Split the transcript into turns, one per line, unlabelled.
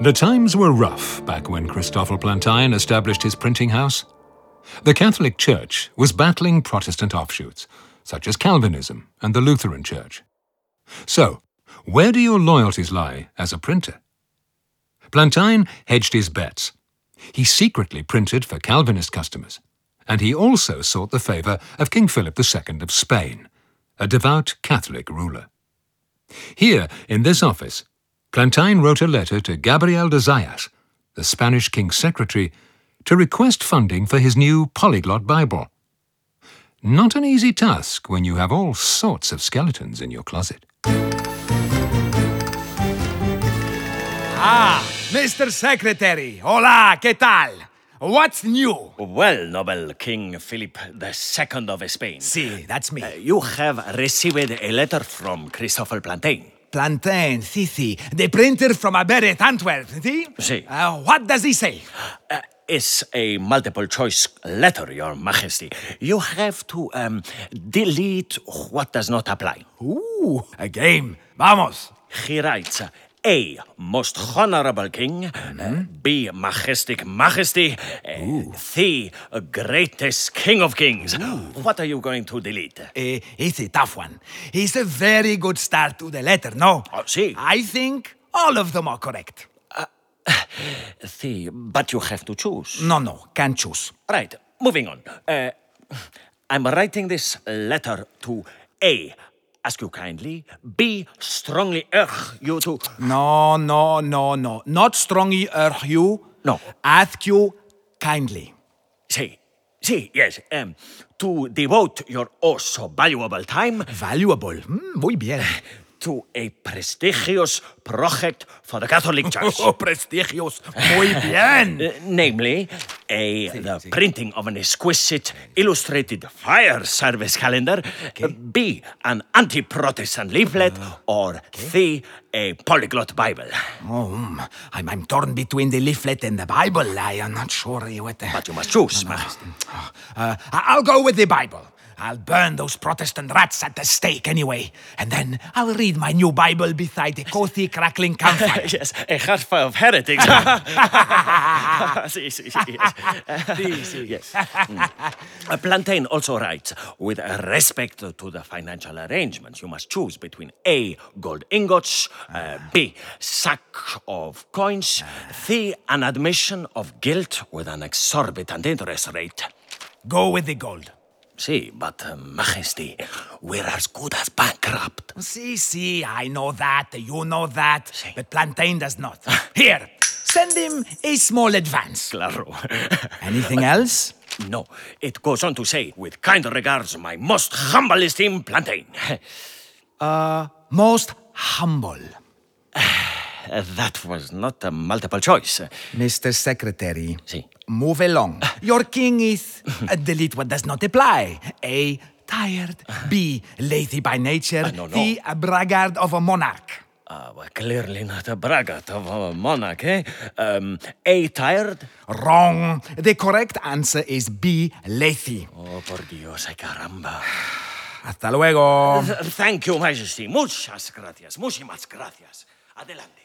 The times were rough back when Christoffel Plantain established his printing house. The Catholic Church was battling Protestant offshoots, such as Calvinism and the Lutheran Church. So, where do your loyalties lie as a printer? Plantain hedged his bets. He secretly printed for Calvinist customers, and he also sought the favour of King Philip II of Spain, a devout Catholic ruler. Here, in this office, Plantain wrote a letter to Gabriel de Zayas, the Spanish king's secretary, to request funding for his new polyglot Bible. Not an easy task when you have all sorts of skeletons in your closet.
Ah, Mr. Secretary, hola, que tal? What's new?
Well, noble King Philip II of Spain,
Si, that's me.
uh, you have received a letter from Christopher Plantain.
Plantain, si, si, the printer from Aberet, Antwerp, si?
Si.
Uh, what does he say?
Uh, it's a multiple choice letter, Your Majesty. You have to um, delete what does not apply.
Ooh, a game. Vamos.
He writes A. Most Honorable King. uh, B. Majestic Majesty. Uh, C. Greatest King of Kings. What are you going to delete?
Eh, it's a tough one. It's a very good start to the letter, no?
Oh, si.
I think all of them are correct.
C. But you have to choose.
No, no, can't choose.
Right, moving on. Uh, I'm writing this letter to A. Ask you kindly. B. Strongly urge you to.
No, no, no, no. Not strongly urge you.
No.
Ask you kindly.
C. C. Yes. Um, to devote your also valuable time
Valuable. Mm, muy bien.
to a prestigious project for the Catholic Church.
Oh, prestigious. Muy bien.
Uh, namely, a, the printing of an exquisite illustrated fire service calendar, uh, B, an anti Protestant leaflet, or C, a polyglot Bible.
Oh, mm, I'm, I'm torn between the leaflet and the Bible. I am not sure what.
But you must choose, Majesty.
Uh, I- I'll go with the Bible. I'll burn those Protestant rats at the stake anyway, and then I'll read my new Bible beside the cozy, crackling campfire.
Yes, a heart of heretics. Si, si, si, yes. Si, si, yes. Mm. Uh, Plantain also writes with respect to the financial arrangements, you must choose between A, gold ingots, uh, B, sack of coins, C, an admission of guilt with an exorbitant interest rate.
go with the gold.
See, but uh, Majesty, we're as good as bankrupt.
See, see, I know that, you know that, but Plantain does not. Here, send him a small advance.
Claro.
Anything else?
No, it goes on to say, with kind regards, my most humble esteem, Plantain.
Most humble.
Uh, that was not a multiple choice. Uh,
Mr. Secretary,
See.
move along. Your king is uh, delete what does not apply. A. Tired. B. Lazy by nature.
Ah, no, no.
C. A braggart of a monarch.
Uh, well, clearly not a braggart of a monarch, eh? Um, a tired?
Wrong. The correct answer is B. Lazy.
Oh, por Dios, ay caramba.
Hasta luego.
Th- Thank you, Majesty. Muchas gracias. Muchísimas gracias. Adelante.